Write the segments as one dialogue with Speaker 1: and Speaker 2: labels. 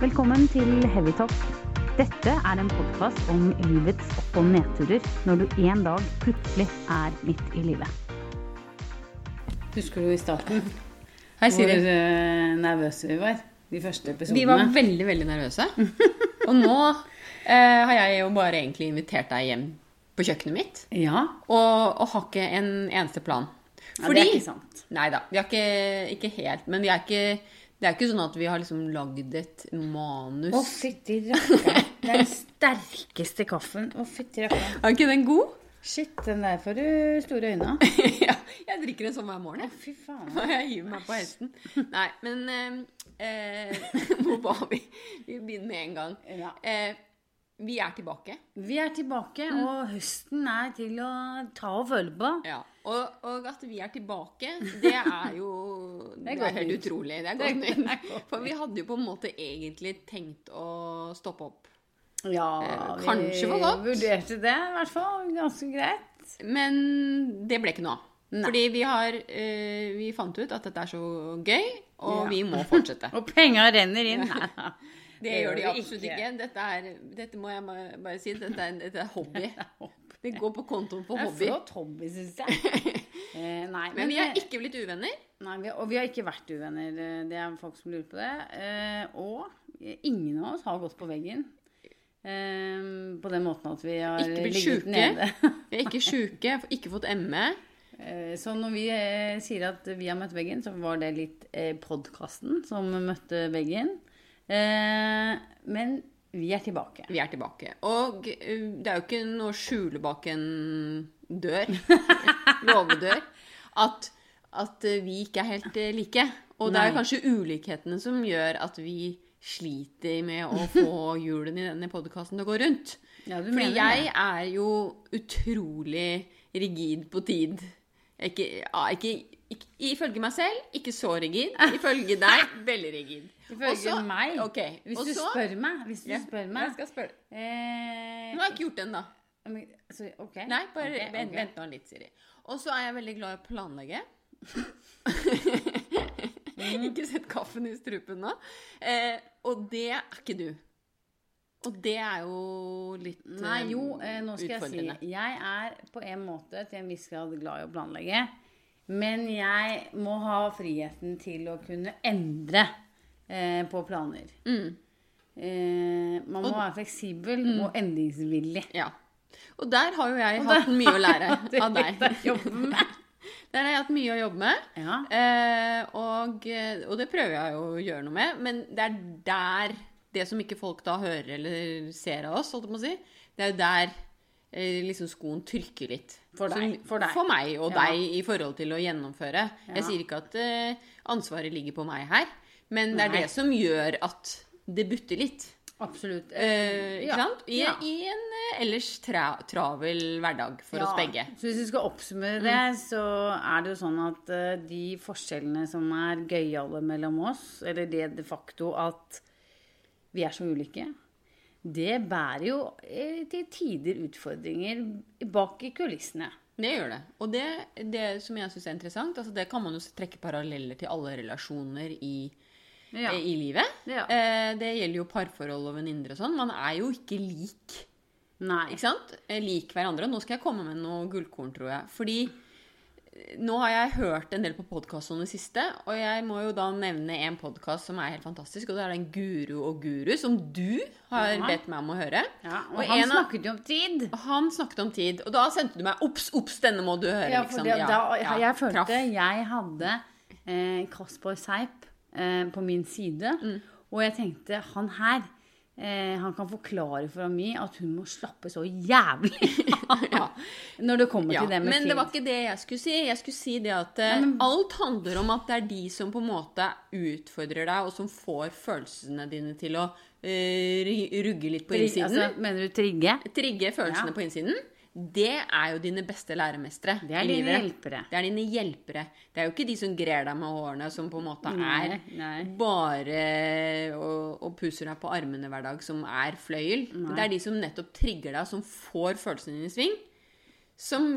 Speaker 1: Velkommen til Heavytop. Dette er en podkast om livets opp- og nedturer når du en dag plutselig er midt i livet.
Speaker 2: Husker du i starten? Hei, Siri. Hvor eh, nervøse vi var. De første episodene.
Speaker 3: Vi var veldig, veldig nervøse. Og nå eh, har jeg jo bare egentlig invitert deg hjem på kjøkkenet mitt.
Speaker 2: Ja.
Speaker 3: Og, og har ikke en eneste plan.
Speaker 2: Ja, det er ikke sant.
Speaker 3: Nei da. Vi har ikke, ikke helt Men vi er ikke, det er ikke sånn at vi har liksom lagd et manus.
Speaker 2: Å, fytti rakka. Det er den sterkeste kaffen. Å, fytti rakka.
Speaker 3: Er ikke den god?
Speaker 2: Shit, den der får du store øyne av.
Speaker 3: ja, jeg drikker en sånn hver morgen. jeg.
Speaker 2: Fy faen.
Speaker 3: Og jeg hiver meg på hesten. Nei, men eh, eh, Hvor var vi? Vi begynner med en gang.
Speaker 2: Ja.
Speaker 3: Eh, vi er tilbake.
Speaker 2: Vi er tilbake, og høsten er til å ta og føle på.
Speaker 3: Ja, og, og at vi er tilbake, det er jo det er
Speaker 2: godt
Speaker 3: helt
Speaker 2: nytt.
Speaker 3: utrolig. Det er
Speaker 2: Det er
Speaker 3: godt
Speaker 2: godt- det er
Speaker 3: nytt.
Speaker 2: godt
Speaker 3: For vi hadde jo på en måte egentlig tenkt å stoppe opp.
Speaker 2: Ja,
Speaker 3: Eh,
Speaker 2: vi
Speaker 3: kanskje for godt.
Speaker 2: vurderte det, i hvert fall. Ganske greit.
Speaker 3: Men det ble ikke noe av.
Speaker 2: Nei.
Speaker 3: Fordi vi, har, eh, vi fant ut at dette er så gøy, og
Speaker 2: Ja.
Speaker 3: vi må fortsette.
Speaker 2: Og penga renner inn. Nei da.
Speaker 3: Det gjør de
Speaker 2: vi
Speaker 3: absolutt ikke. Dette, er, dette må jeg ma- bare si, dette er, en- dette er hobby. Det går på kontoen for
Speaker 2: Det er
Speaker 3: hobby.
Speaker 2: flott hobby, syns jeg. Eh, nei,
Speaker 3: Men vi er ikke blitt uvenner.
Speaker 2: Nei, vi, og vi har ikke vært uvenner. eh, Det er folk som lurer på det. Eh, og ingen av oss har gått på veggen. Eh, på den måten at vi har
Speaker 3: Ikke blitt
Speaker 2: ligget
Speaker 3: syke.
Speaker 2: nede.
Speaker 3: Vi er ikke sjuke, ikke fått E. ME.
Speaker 2: Eh, så når vi eh, sier at vi har møtt veggen, så var det litt eh, podkasten som møtte veggen. Eh, men vi er tilbake.
Speaker 3: Vi er tilbake. Og eh, det er jo ikke noe å skjule bak en dør, låvedør, at, at eh, vi ikke er helt eh, like. Og det er jo
Speaker 2: Nei.
Speaker 3: kanskje ulikhetene som gjør at vi sliter med å få hjulene i denne podkasten til å gå rundt.
Speaker 2: Ja, du
Speaker 3: Fordi
Speaker 2: mener
Speaker 3: jeg er jo utrolig rigid på tid. Ikke, ja, ikke, ikke, ifølge meg selv, ikke så rigid. Ifølge deg, veldig rigid.
Speaker 2: Ifølge
Speaker 3: Også-
Speaker 2: meg.
Speaker 3: Ok,
Speaker 2: Hvis
Speaker 3: og
Speaker 2: du
Speaker 3: så-
Speaker 2: spør meg. Hvis du
Speaker 3: Ja,
Speaker 2: spør
Speaker 3: Jeg
Speaker 2: meg
Speaker 3: skal spørre.
Speaker 2: eh,
Speaker 3: Nå har jeg ikke gjort det ennå.
Speaker 2: men- sorry, Ok.
Speaker 3: Nei, bare
Speaker 2: Ok,
Speaker 3: vent,
Speaker 2: ok.
Speaker 3: vent nå litt, Siri. Og så er jeg veldig glad i å planlegge.
Speaker 2: Mm.
Speaker 3: ikke sett kaffen i strupen nå. Eh, og det er ikke du. Og det er jo litt
Speaker 2: Nei, jo, eh, nå skal jeg
Speaker 3: utfordrende.
Speaker 2: si Jeg er på en måte til en viss grad glad i å planlegge. Men jeg må ha friheten til å kunne endre eh, på planer. Eh, man må være fleksibel og endringsvillig.
Speaker 3: Ja. Og der har jo jeg
Speaker 2: Og
Speaker 3: hatt
Speaker 2: der-
Speaker 3: mye å lære av
Speaker 2: Det
Speaker 3: deg.
Speaker 2: er jobben med.
Speaker 3: Der har jeg hatt mye å jobbe med.
Speaker 2: Ja.
Speaker 3: Eh, og, og det prøver jeg jo å gjøre noe med, men det er der Det som ikke folk da hører eller ser av oss, holdt jeg på å si, det er jo der eh, liksom skoen trykker litt.
Speaker 2: For deg,
Speaker 3: Som-
Speaker 2: for deg.
Speaker 3: meg og
Speaker 2: Ja.
Speaker 3: deg i forhold til å gjennomføre. Jeg sier ikke at eh, ansvaret ligger på meg her, men det er
Speaker 2: Nei.
Speaker 3: det som gjør at det butter litt.
Speaker 2: Absolutt.
Speaker 3: Eh, ikke
Speaker 2: Ja,
Speaker 3: sant? I,
Speaker 2: ja.
Speaker 3: I en eh, ellers tra travel hverdag for oss begge. Mm.
Speaker 2: Så hvis vi skal oppsummere det, så er det jo sånn at eh, de forskjellene som er gøyale mellom oss, eller det de facto at vi er så ulike, det bærer jo eh, til tider utfordringer bak i kulissene.
Speaker 3: Det gjør det. Og det, det som jeg syns er interessant, altså det kan man jo trekke paralleller til alle relasjoner i,
Speaker 2: Ja.
Speaker 3: eh, i livet.
Speaker 2: Ja.
Speaker 3: Eh, det gjelder jo parforhold og venninner og sånn. Man er jo ikke lik,
Speaker 2: Nei.
Speaker 3: ikke sant? Eh, Lik hverandre. Nå skal jeg komme med noe gullkorn, tror jeg. Fordi eh, nå har jeg hørt en del på podkast om det siste, og jeg må jo da nevne en podkast som er helt fantastisk, og det er den Guru og Guru, som du har
Speaker 2: Ja.
Speaker 3: bedt meg om å høre.
Speaker 2: Ja, og,
Speaker 3: Og
Speaker 2: han
Speaker 3: en av-
Speaker 2: snakket jo om tid.
Speaker 3: Han snakket om tid, og da sendte du meg 'obs, obs, denne må du høre'.
Speaker 2: Ja, for
Speaker 3: liksom.
Speaker 2: det, da,
Speaker 3: ja,
Speaker 2: jeg følte
Speaker 3: traff.
Speaker 2: jeg hadde eh, Kasper Seip eh, på min side.
Speaker 3: Mm.
Speaker 2: Og jeg tenkte han her eh, han kan forklare for meg at hun må slappe så jævlig av
Speaker 3: Ja.
Speaker 2: når det kommer
Speaker 3: Ja,
Speaker 2: til det med
Speaker 3: men
Speaker 2: tid.
Speaker 3: det var ikke det jeg skulle si. Jeg skulle si det at eh, alt handler om at det er de som på en måte utfordrer deg, og som får følelsene dine til å eh, ry- rugge litt på innsiden.
Speaker 2: Altså, mener du trigge?
Speaker 3: trigge
Speaker 2: Ja.
Speaker 3: følelsene på innsiden. Det er jo dine beste læremestere.
Speaker 2: Det er
Speaker 3: i
Speaker 2: dine
Speaker 3: livet.
Speaker 2: hjelpere.
Speaker 3: Det er dine hjelpere. Det er jo ikke de som grer deg med hårene, som på en måte
Speaker 2: Nei,
Speaker 3: er
Speaker 2: nei.
Speaker 3: bare og, og puser deg på armene hver dag, som er fløyel. Det er de som nettopp trigger deg, som får følelsene dine i sving. Som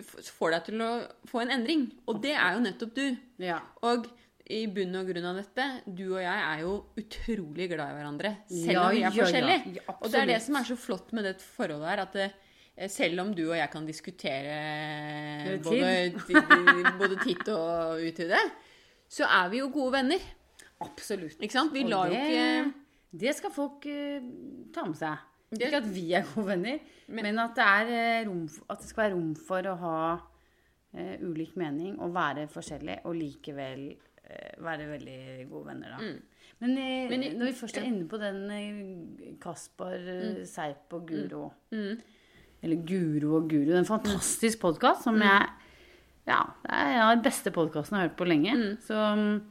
Speaker 3: f- får deg til å få en endring. Og det er jo nettopp du.
Speaker 2: Ja.
Speaker 3: Og i bunn og grunn av dette, du og jeg er jo utrolig glad i hverandre. Selv
Speaker 2: Ja,
Speaker 3: om vi
Speaker 2: ja,
Speaker 3: er forskjellige.
Speaker 2: ja. Ja,
Speaker 3: og det er det
Speaker 2: absolutt.
Speaker 3: som er så flott med det forholdet her, at det, eh, selv om du og jeg kan diskutere
Speaker 2: Tid.
Speaker 3: både, ti- både titt og utvide, så er vi jo gode venner.
Speaker 2: Absolutt.
Speaker 3: Ikke sant? Vi
Speaker 2: Og
Speaker 3: lar jo
Speaker 2: det-
Speaker 3: ikke
Speaker 2: Det skal folk eh, ta med seg.
Speaker 3: Det-
Speaker 2: Ikke at vi er gode venner, men,
Speaker 3: Men-
Speaker 2: at, det er, eh, rom, f- at det skal være rom for å ha eh, ulik mening og være forskjellig, og likevel eh, være veldig gode venner, da. Men, eh,
Speaker 3: Mm. Men i-
Speaker 2: når vi først er
Speaker 3: ja. Mm.
Speaker 2: inne på den eh, Kaspar, eh, Seip og Guro Eller Guro og Guru. Det er en fantastisk podkast som jeg Ja, det er en av de beste podkastene jeg har hørt på lenge. Så, mm,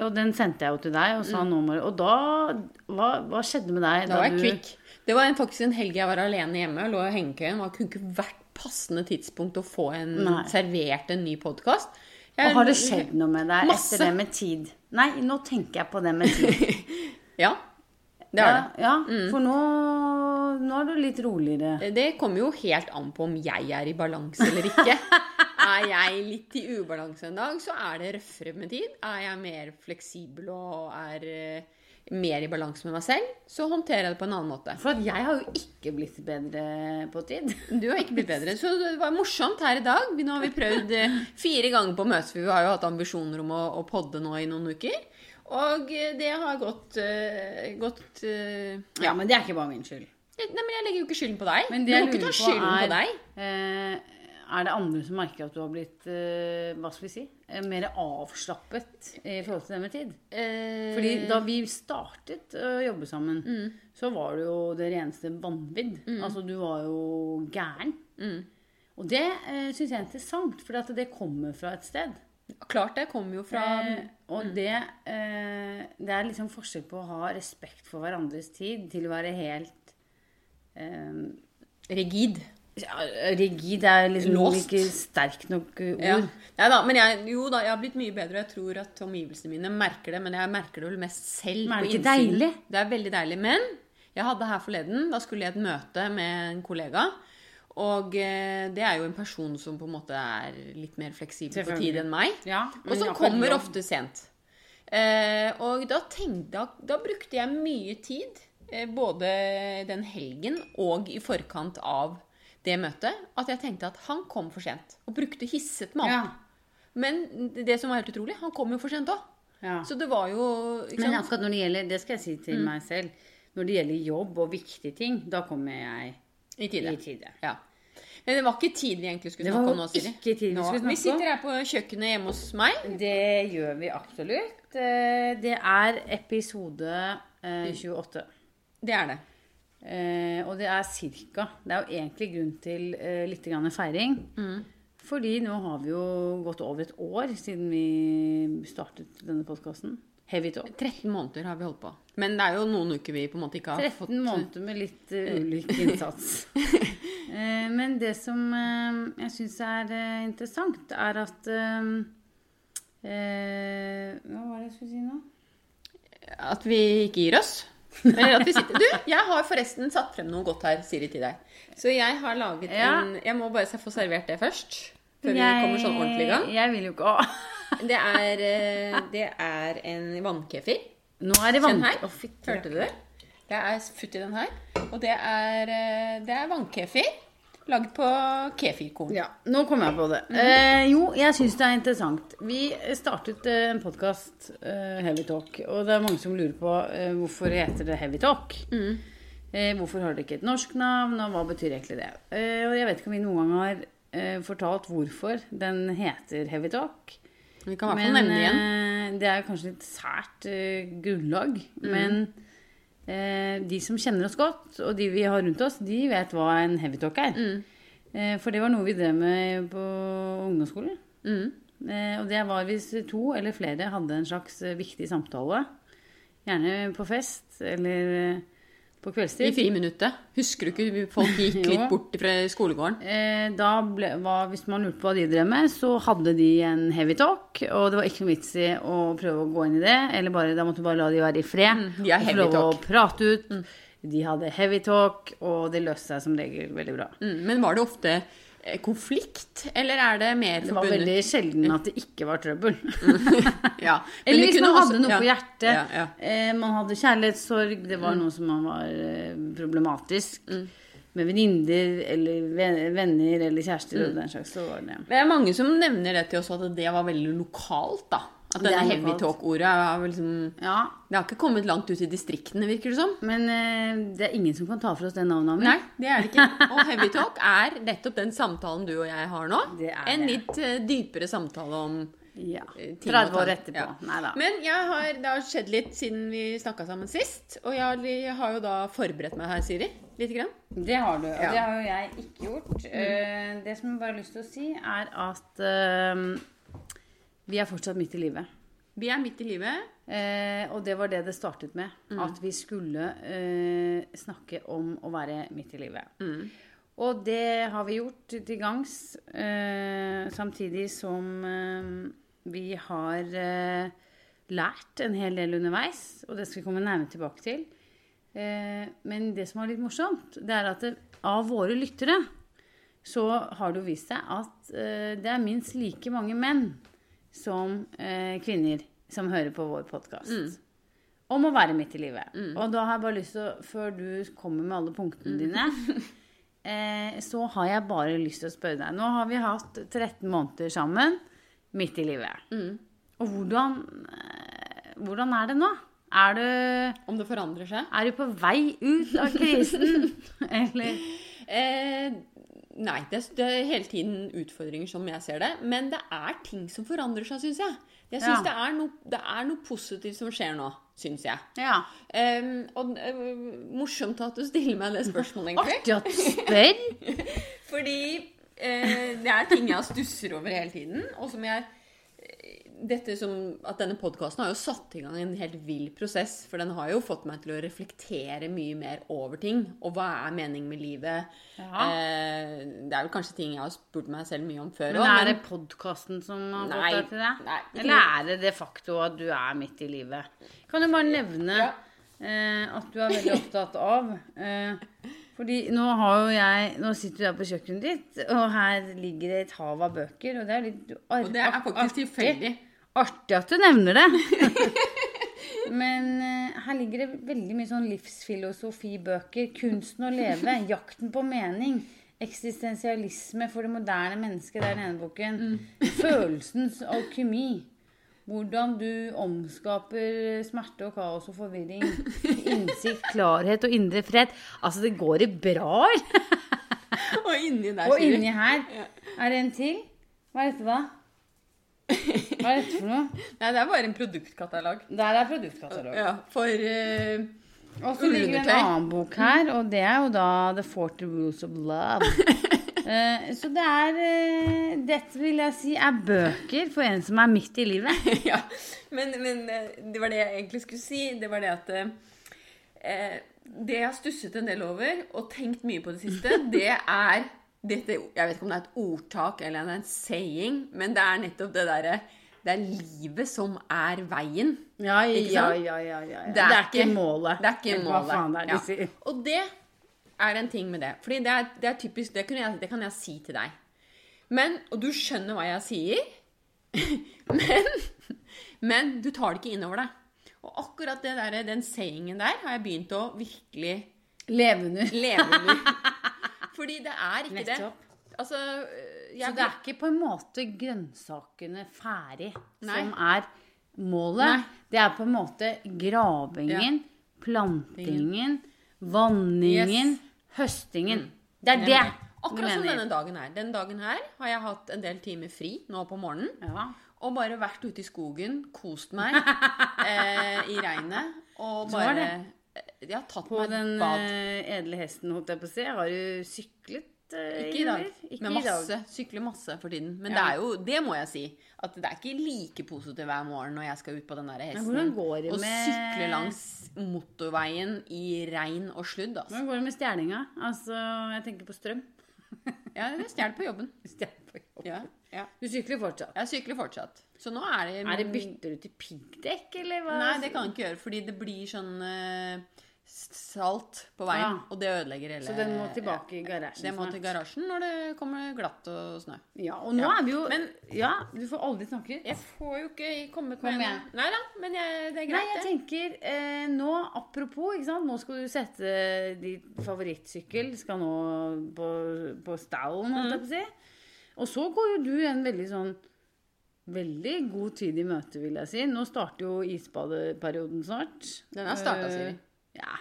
Speaker 2: og den sendte jeg jo til deg og sa nå må du Og da hva, hva skjedde med deg?
Speaker 3: Da var jeg
Speaker 2: du-
Speaker 3: kvikk. Det var en, faktisk en helg jeg var alene hjemme og lå i hengekøyen. Det kunne ikke vært passende tidspunkt å få en
Speaker 2: Nei.
Speaker 3: servert en ny podkast.
Speaker 2: Og har det skjedd noe med deg
Speaker 3: Masse.
Speaker 2: etter det med tid? Nei, nå tenker jeg på det med tid.
Speaker 3: Ja. Det har det.
Speaker 2: Ja, ja for nå, nå er du litt roligere.
Speaker 3: Det kommer jo helt an på om jeg er i balanse eller ikke. Er jeg litt i ubalanse en dag, så er det røffere med tid. Er jeg mer fleksibel og er eh, mer i balanse med meg selv, så håndterer jeg det på en annen måte.
Speaker 2: For at jeg har jo ikke blitt bedre på tid.
Speaker 3: Du har ikke blitt bedre. Så det var morsomt her i dag. Vi- Nå har vi prøvd eh, fire ganger på møtet, for vi har jo hatt ambisjoner om å, å podde nå i noen uker. Og eh, det har gått, eh, gått eh,
Speaker 2: Ja, men det er ikke bare min skyld.
Speaker 3: Nei, men jeg legger jo ikke skylden på deg.
Speaker 2: Men
Speaker 3: Du
Speaker 2: det
Speaker 3: må
Speaker 2: jeg
Speaker 3: ikke
Speaker 2: lurer
Speaker 3: ta
Speaker 2: på
Speaker 3: skylden på
Speaker 2: er-
Speaker 3: deg.
Speaker 2: Eh, er det andre som merker at du har blitt eh, hva skal vi si, eh, mer avslappet i forhold til det med tid?
Speaker 3: Eh,
Speaker 2: Fordi da vi startet å jobbe sammen,
Speaker 3: Mm.
Speaker 2: så var det jo det reneste vanvidd. Altså, du var jo gæren.
Speaker 3: Mm.
Speaker 2: Og det eh, syns jeg er interessant, for at det kommer fra et sted.
Speaker 3: Klart det kommer jo fra
Speaker 2: Eh,
Speaker 3: Mm.
Speaker 2: og det, eh, det er liksom forskjell på å ha respekt for hverandres tid til å være helt eh,
Speaker 3: rigid.
Speaker 2: ja, Rigid er liksom
Speaker 3: Låst.
Speaker 2: ikke sterkt nok eh,
Speaker 3: Ja.
Speaker 2: ord.
Speaker 3: Nei da, men jeg, jo da, jeg har blitt mye bedre, og jeg tror at omgivelsene mine merker det. Men jeg merker det vel mest selv.
Speaker 2: Men er det
Speaker 3: på
Speaker 2: ikke
Speaker 3: innsiden.
Speaker 2: deilig?
Speaker 3: Det er veldig deilig. Men jeg hadde her forleden, da skulle jeg i et møte med en kollega. Og eh, det er jo en person som på en måte er litt mer fleksibel på
Speaker 2: Selvfølgelig.
Speaker 3: tid enn meg.
Speaker 2: Mm, Ja,
Speaker 3: og
Speaker 2: men
Speaker 3: som
Speaker 2: jeg kan
Speaker 3: kommer
Speaker 2: jo-
Speaker 3: ofte sent. Eh, og da, tenkte, da, da brukte jeg mye tid, eh, både den helgen og i forkant av det møtet, at jeg tenkte at han kom for sent. Og brukte hisset meg
Speaker 2: Ja.
Speaker 3: opp. Men det som var helt utrolig, han kom jo for sent òg.
Speaker 2: Ja.
Speaker 3: Så det var jo ikke
Speaker 2: Men
Speaker 3: sant? Mm.
Speaker 2: akkurat når det gjelder, det skal jeg si til meg selv, når det gjelder jobb og viktige ting, da kommer jeg
Speaker 3: I tide.
Speaker 2: i tide.
Speaker 3: Ja. Men det var ikke tid vi egentlig skulle
Speaker 2: Det var
Speaker 3: snakke
Speaker 2: jo
Speaker 3: om nå, Siri.
Speaker 2: ikke tid vi
Speaker 3: Nå-
Speaker 2: skulle snakke
Speaker 3: vi sitter
Speaker 2: om.
Speaker 3: her på kjøkkenet hjemme hos meg.
Speaker 2: Det gjør vi absolutt. Eh, Det er episode
Speaker 3: Mm.
Speaker 2: eh, 28.
Speaker 3: Det er det.
Speaker 2: Eh, Og det er cirka. Det er jo egentlig grunn til eh, litt grann feiring.
Speaker 3: Mm.
Speaker 2: Fordi nå har vi jo gått over et år siden vi startet denne podkasten. Heavy Talk.
Speaker 3: 13 måneder har vi holdt på. Men det er jo noen uker vi på en måte ikke har
Speaker 2: 13
Speaker 3: fått
Speaker 2: måneder med litt eh, ulik innsats. Eh, Men det som eh, jeg syns er eh, interessant, er at eh, eh, Hva var det jeg skulle si nå?
Speaker 3: At vi ikke gir oss. Eller at vi sitter Du, jeg har forresten satt frem noe godt her, Siri, til deg. Så jeg har laget
Speaker 2: Ja.
Speaker 3: en Jeg må bare se- få servert det først. Før vi kommer sånn ordentlig i gang.
Speaker 2: Jeg vil jo ikke ha
Speaker 3: Det er, eh, det er en vannkefir.
Speaker 2: Nå er det
Speaker 3: Den
Speaker 2: vanskelig
Speaker 3: her. Hørte du det? Det er futt i den her. Og det er, eh, det er vannkefir. Lagd på kefirkorn.
Speaker 2: Ja, nå kom jeg på det. Eh, jo, jeg syns det er interessant. Vi startet eh, en podkast, eh, Heavy Talk, og det er mange som lurer på eh, hvorfor heter det Heavy Talk. Eh, hvorfor har det ikke et norsk navn, og hva betyr egentlig det? Eh, og jeg vet ikke om vi noen gang har eh, fortalt hvorfor den heter Heavy Talk.
Speaker 3: Vi kan i hvert fall nevne det igjen. Mm.
Speaker 2: eh, det er jo kanskje et sært eh, grunnlag. Men eh, de som kjenner oss godt, og de vi har rundt oss, de vet hva en heavy talk er.
Speaker 3: Mm.
Speaker 2: Eh, for det var noe vi drev med på ungdomsskolen.
Speaker 3: Mm.
Speaker 2: Eh, og det var hvis to eller flere hadde en slags eh, viktig samtale. Gjerne på fest eller eh, på
Speaker 3: I
Speaker 2: kveldstid.
Speaker 3: friminuttet. Husker du ikke folk gikk litt
Speaker 2: Jo.
Speaker 3: bort fra skolegården?
Speaker 2: Eh, da ble, var, hvis man lurte på hva de drev med, så hadde de en heavy talk. Og det var ikke noe vits i å prøve å gå inn i det. Eller bare, da måtte du bare la de være i fred.
Speaker 3: Mm, de
Speaker 2: og
Speaker 3: har
Speaker 2: få
Speaker 3: heavy
Speaker 2: lov å
Speaker 3: talk. Mm.
Speaker 2: prate ut. De hadde heavy talk, og det løste seg som regel veldig bra.
Speaker 3: Mm, men var det ofte eh, konflikt, eller er det mer
Speaker 2: Det var
Speaker 3: forbundet-
Speaker 2: veldig sjelden at det ikke var trøbbel.
Speaker 3: Ja. men
Speaker 2: Eller
Speaker 3: det
Speaker 2: hvis
Speaker 3: kunne
Speaker 2: man
Speaker 3: også-
Speaker 2: hadde noe
Speaker 3: ja,
Speaker 2: på hjertet.
Speaker 3: Ja, ja. Mm.
Speaker 2: Eh, man hadde kjærlighetssorg, det var noe som man var eh, problematisk. Med venninner eller ven- venner eller kjærester
Speaker 3: Mm.
Speaker 2: og den slags. Så var det
Speaker 3: Det er mange som nevner det til oss at det var veldig lokalt, da. At
Speaker 2: Det er
Speaker 3: denne heavy
Speaker 2: lokalt.
Speaker 3: talk-ordet er vel liksom
Speaker 2: Ja,
Speaker 3: Det har ikke kommet langt ut i distriktene, virker det som.
Speaker 2: men eh, det er ingen som kan ta for oss det navnet. Amin.
Speaker 3: Nei, det er det ikke. Og heavy talk er nettopp den samtalen du og jeg har nå.
Speaker 2: Det er
Speaker 3: en
Speaker 2: det.
Speaker 3: litt eh, dypere samtale om
Speaker 2: Ja.
Speaker 3: eh, ting og
Speaker 2: 30 år
Speaker 3: tang.
Speaker 2: etterpå.
Speaker 3: Ja.
Speaker 2: Nei da.
Speaker 3: Men jeg har, det har skjedd litt siden vi snakka sammen sist. Og jeg, jeg har jo da forberedt meg her, Siri. Lite grann.
Speaker 2: Det har du, og
Speaker 3: Ja. Mm.
Speaker 2: det har jo jeg ikke gjort. Eh, Det som jeg bare har lyst til å si, er at eh, vi er fortsatt midt i livet.
Speaker 3: Vi er midt i livet.
Speaker 2: Eh, og det var det det startet med. At vi skulle eh, snakke om å være midt i livet. Og det har vi gjort til gangs. Eh, samtidig som eh, vi har eh, lært en hel del underveis. Og det skal vi komme nærmere tilbake til. Eh, men det som var litt morsomt, det er at det, av våre lyttere så har det jo vist seg at eh, det er minst like mange menn som eh, kvinner som hører på vår podkast. Om å være midt i livet. Og da har jeg bare lyst til å, før du kommer med alle punktene dine, eh, så har jeg bare lyst til å spørre deg. Nå har vi hatt 13 måneder sammen midt i livet.
Speaker 3: Mm.
Speaker 2: Og hvordan, eh, hvordan er det nå? Er du
Speaker 3: Om det forandrer seg?
Speaker 2: er du på vei ut av krisen? Eller
Speaker 3: Eh, nei, det, det er hele tiden utfordringer som jeg ser det. Men det er ting som forandrer seg, syns jeg. Jeg synes
Speaker 2: Ja.
Speaker 3: det, er no, det er noe positivt som skjer nå, syns jeg.
Speaker 2: Ja.
Speaker 3: Ehm, og eh, morsomt at du stiller meg det spørsmålet, egentlig.
Speaker 2: Artig at du spør.
Speaker 3: Fordi eh, det er ting jeg stusser over hele tiden. Og som jeg eh, dette som, at Denne podkasten har jo satt i gang en helt vill prosess. For den har jo fått meg til å reflektere mye mer over ting. Og hva er meningen med livet?
Speaker 2: Ja.
Speaker 3: Eh, det er vel kanskje ting jeg har spurt meg selv mye om før
Speaker 2: Men
Speaker 3: også,
Speaker 2: er det podkasten som har
Speaker 3: Nei,
Speaker 2: gått deg til deg?
Speaker 3: nei, ikke
Speaker 2: Eller er det de facto at du er midt i livet? Kan du bare nevne
Speaker 3: Ja.
Speaker 2: eh, at du er veldig opptatt av eh, Fordi nå har jo jeg Nå sitter du her på kjøkkenet ditt, og her ligger det et hav av bøker, og det er litt ar
Speaker 3: Og det er faktisk
Speaker 2: artig-
Speaker 3: tilfeldig.
Speaker 2: Artig at du nevner det. Men eh, her ligger det veldig mye sånn livsfilosofibøker. 'Kunsten å leve', 'Jakten på mening', 'Eksistensialisme for det moderne mennesket', det er den ene boken. 'Følelsens alkymi'. Hvordan du omskaper smerte og kaos og forvirring. Innsikt, klarhet og indre fred. Altså, det går i bra, eller?
Speaker 3: Og inni der,
Speaker 2: Og
Speaker 3: sier du.
Speaker 2: inni her er det en til. Hva er dette, da? Hva er dette for noe?
Speaker 3: Nei, det er bare en produktkatalog.
Speaker 2: Der er produktkatalog.
Speaker 3: Ja, for eh,
Speaker 2: Og så ligger det en
Speaker 3: Ullundertøy.
Speaker 2: annen bok her, og det er jo da The Forty Rules of Love. Eh, så det er eh, Dette vil jeg si er bøker for en som er midt i livet.
Speaker 3: ja. Men, men eh, det var det jeg egentlig skulle si. Det var det at eh, eh, Det jeg har stusset en del over og tenkt mye på det siste, det er dette, Jeg vet ikke om det er et ordtak eller en saying, men det er nettopp det derre Det er livet som er veien.
Speaker 2: Ja,
Speaker 3: ja,
Speaker 2: ja,
Speaker 3: Det er, ikke
Speaker 2: målet.
Speaker 3: Det er ikke
Speaker 2: Eller
Speaker 3: målet.
Speaker 2: Hva faen det er de
Speaker 3: Ja.
Speaker 2: sier.
Speaker 3: Og det er en ting med det. Fordi det er, det er typisk det, kunne jeg, det kan jeg si til deg. Men, Og du skjønner hva jeg sier, men, men du tar det ikke innover deg. Og akkurat det der, den sayingen der har jeg begynt å virkelig
Speaker 2: Leve under.
Speaker 3: leve under. Fordi det er ikke det.
Speaker 2: Nettopp.
Speaker 3: Altså, øh,
Speaker 2: Så
Speaker 3: jeg,
Speaker 2: det er ikke på en måte grønnsakene ferdig
Speaker 3: Nei.
Speaker 2: som er målet.
Speaker 3: Nei.
Speaker 2: Det er på en måte gravingen, plantingen, Mm. vanningen, høstingen. Det er det.
Speaker 3: Akkurat som denne dagen her. Den dagen her har jeg hatt en del timer fri nå på morgenen.
Speaker 2: Ja.
Speaker 3: Og bare vært ute i skogen, kost meg eh, i regnet. Og
Speaker 2: Så var
Speaker 3: bare eh,
Speaker 2: det.
Speaker 3: Jeg har tatt
Speaker 2: På
Speaker 3: meg
Speaker 2: den
Speaker 3: et bad.
Speaker 2: eh, edle hesten, holdt jeg på å si. Har du syklet eh,
Speaker 3: Ikke i dag,
Speaker 2: eller? Ikke
Speaker 3: men
Speaker 2: i dag.
Speaker 3: masse. Sykler masse for tiden. Men det
Speaker 2: Ja.
Speaker 3: er jo, det må jeg si, at det er ikke like positivt hver morgen når jeg skal ut på den der hesten.
Speaker 2: hvordan går det
Speaker 3: og
Speaker 2: med-
Speaker 3: sykle langs motorveien i regn og sludd, altså.
Speaker 2: Hvordan går det med stjelinga? Altså, jeg tenker på strøm. Mm.
Speaker 3: Ja, jeg stjeler på jobben.
Speaker 2: Stjel på jobb.
Speaker 3: Ja, ja.
Speaker 2: Du sykler fortsatt.
Speaker 3: Jeg sykler fortsatt. Så nå er det
Speaker 2: Er det bytter du til piggdekk, eller hva?
Speaker 3: Nei, det kan jeg ikke gjøre, fordi det blir sånn eh, salt på veien,
Speaker 2: Ja.
Speaker 3: og det ødelegger hele
Speaker 2: Så den må tilbake i garasjen
Speaker 3: Den må til
Speaker 2: snart.
Speaker 3: garasjen når det kommer glatt og snø.
Speaker 2: Ja, og nå
Speaker 3: Ja.
Speaker 2: er vi jo
Speaker 3: Men-
Speaker 2: Ja, du får aldri tanker.
Speaker 3: Jeg får jo ikke kommet
Speaker 2: Kom
Speaker 3: med
Speaker 2: igjen.
Speaker 3: en- Nei da, men jeg, det
Speaker 2: Nei,
Speaker 3: er greit,
Speaker 2: jeg
Speaker 3: det.
Speaker 2: tenker eh, nå, apropos, ikke sant? nå skal du sette ditt favorittsykkel skal nå på, på stallen, holdt jeg på å si.
Speaker 3: Mm.
Speaker 2: Og så går jo du en veldig sånn Veldig god tid i møte, vil jeg si. Nå starter jo isbadeperioden snart.
Speaker 3: Den har
Speaker 2: Eh,
Speaker 3: startet, Siri.
Speaker 2: Ja.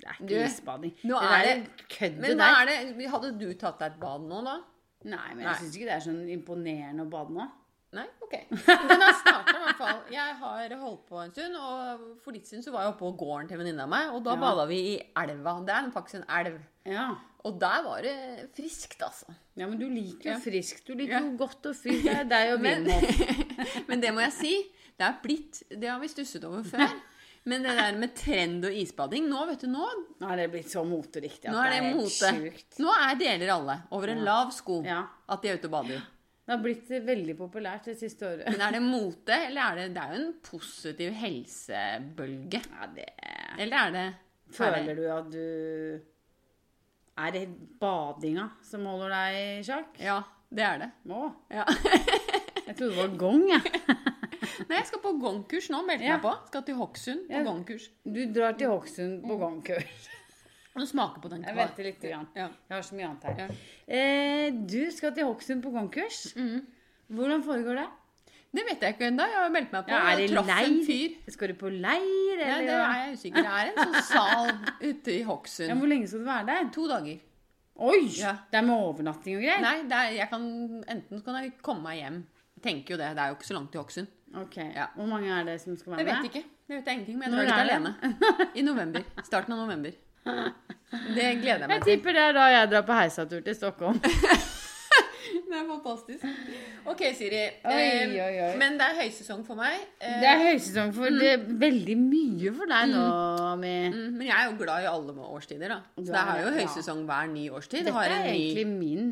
Speaker 2: Det er ikke
Speaker 3: Du,
Speaker 2: isbading.
Speaker 3: nå
Speaker 2: det der
Speaker 3: er
Speaker 2: er
Speaker 3: det-
Speaker 2: køddet
Speaker 3: Men
Speaker 2: der.
Speaker 3: hva er det Hadde du tatt deg et bad nå, da?
Speaker 2: Nei, men
Speaker 3: Nei.
Speaker 2: jeg syns ikke det er sånn imponerende å bade nå.
Speaker 3: Nei? Ok. Den har starta, i hvert fall. Jeg har holdt på en stund, og for ditt syn så var jeg oppe på gården til en venninne av meg, og da
Speaker 2: Ja.
Speaker 3: bada vi i elva. Det er faktisk en elv.
Speaker 2: Ja.
Speaker 3: Og der var det friskt, altså.
Speaker 2: ja, men du liker jo
Speaker 3: Ja.
Speaker 2: friskt. Du liker
Speaker 3: Ja.
Speaker 2: jo godt og friskt. Det er deg og
Speaker 3: Men,
Speaker 2: Wim Hof.
Speaker 3: men det må jeg si, det er blitt Det har vi stusset over før. Men det der med trend og isbading Nå vet du, nå,
Speaker 2: Nå er det blitt så moteriktig at
Speaker 3: nå er det
Speaker 2: helt
Speaker 3: mote.
Speaker 2: sjukt.
Speaker 3: Nå er deler alle over en lav sko
Speaker 2: Ja.
Speaker 3: at de er ute og bader.
Speaker 2: Det har blitt veldig populært det siste året.
Speaker 3: Men er det mote, eller er det Det er jo en positiv helsebølge.
Speaker 2: Ja, det
Speaker 3: Eller er det
Speaker 2: Føler du at du Er det badinga som holder deg i sjakk?
Speaker 3: Ja, det er det.
Speaker 2: Å,
Speaker 3: Ja.
Speaker 2: jeg trodde det var gong, jeg.
Speaker 3: Nei, jeg skal på gongkurs nå. Meldte
Speaker 2: Ja.
Speaker 3: meg på. Skal til Hokksund på
Speaker 2: Ja.
Speaker 3: gongkurs.
Speaker 2: Du drar til Hokksund på
Speaker 3: Mm.
Speaker 2: gongkurs.
Speaker 3: Og smake på den.
Speaker 2: Jeg venter litt. Grann.
Speaker 3: Ja.
Speaker 2: Jeg har så mye annet
Speaker 3: Ja.
Speaker 2: her. Eh, du skal til Hokksund på gongkurs. Hvordan foregår det?
Speaker 3: Mhm. Det vet jeg ikke ennå. Jeg har meldt meg på.
Speaker 2: Ja, er det
Speaker 3: og traff en fyr.
Speaker 2: leir? Skal du på leir,
Speaker 3: Ja,
Speaker 2: eller?
Speaker 3: det er jeg usikker. Det er en sånn sal ute i
Speaker 2: ja,
Speaker 3: Hokksund.
Speaker 2: hvor lenge skal du være der?
Speaker 3: To dager.
Speaker 2: Oi!
Speaker 3: Ja.
Speaker 2: Det er med overnatting og greier?
Speaker 3: Nei, det er, jeg kan, enten så kan jeg komme meg hjem. Jeg tenker jo det. Det er jo ikke så langt til Hokksund.
Speaker 2: Ok,
Speaker 3: Ja.
Speaker 2: Hvor mange er det som skal være
Speaker 3: Jeg vet
Speaker 2: med?
Speaker 3: ikke. Det vet jeg ingenting om. Jeg
Speaker 2: Når
Speaker 3: drar dit
Speaker 2: er
Speaker 3: alene. I november. Starten av november. Det gleder jeg
Speaker 2: Jeg
Speaker 3: meg til.
Speaker 2: tipper det er da jeg drar på heisatur til Stockholm.
Speaker 3: Det er fantastisk. OK, Siri.
Speaker 2: Oi,
Speaker 3: Eh,
Speaker 2: oi, oi.
Speaker 3: Men det er høysesong for meg. Eh,
Speaker 2: Det er høysesong for det er veldig mye for deg nå, Ami.
Speaker 3: Mm, Men jeg er jo glad i alle med årstider, da. Så
Speaker 2: Du
Speaker 3: det
Speaker 2: er
Speaker 3: er jo
Speaker 2: det, ja.
Speaker 3: høysesong hver ny årstid.
Speaker 2: Dette
Speaker 3: har
Speaker 2: er
Speaker 3: en ny...
Speaker 2: egentlig min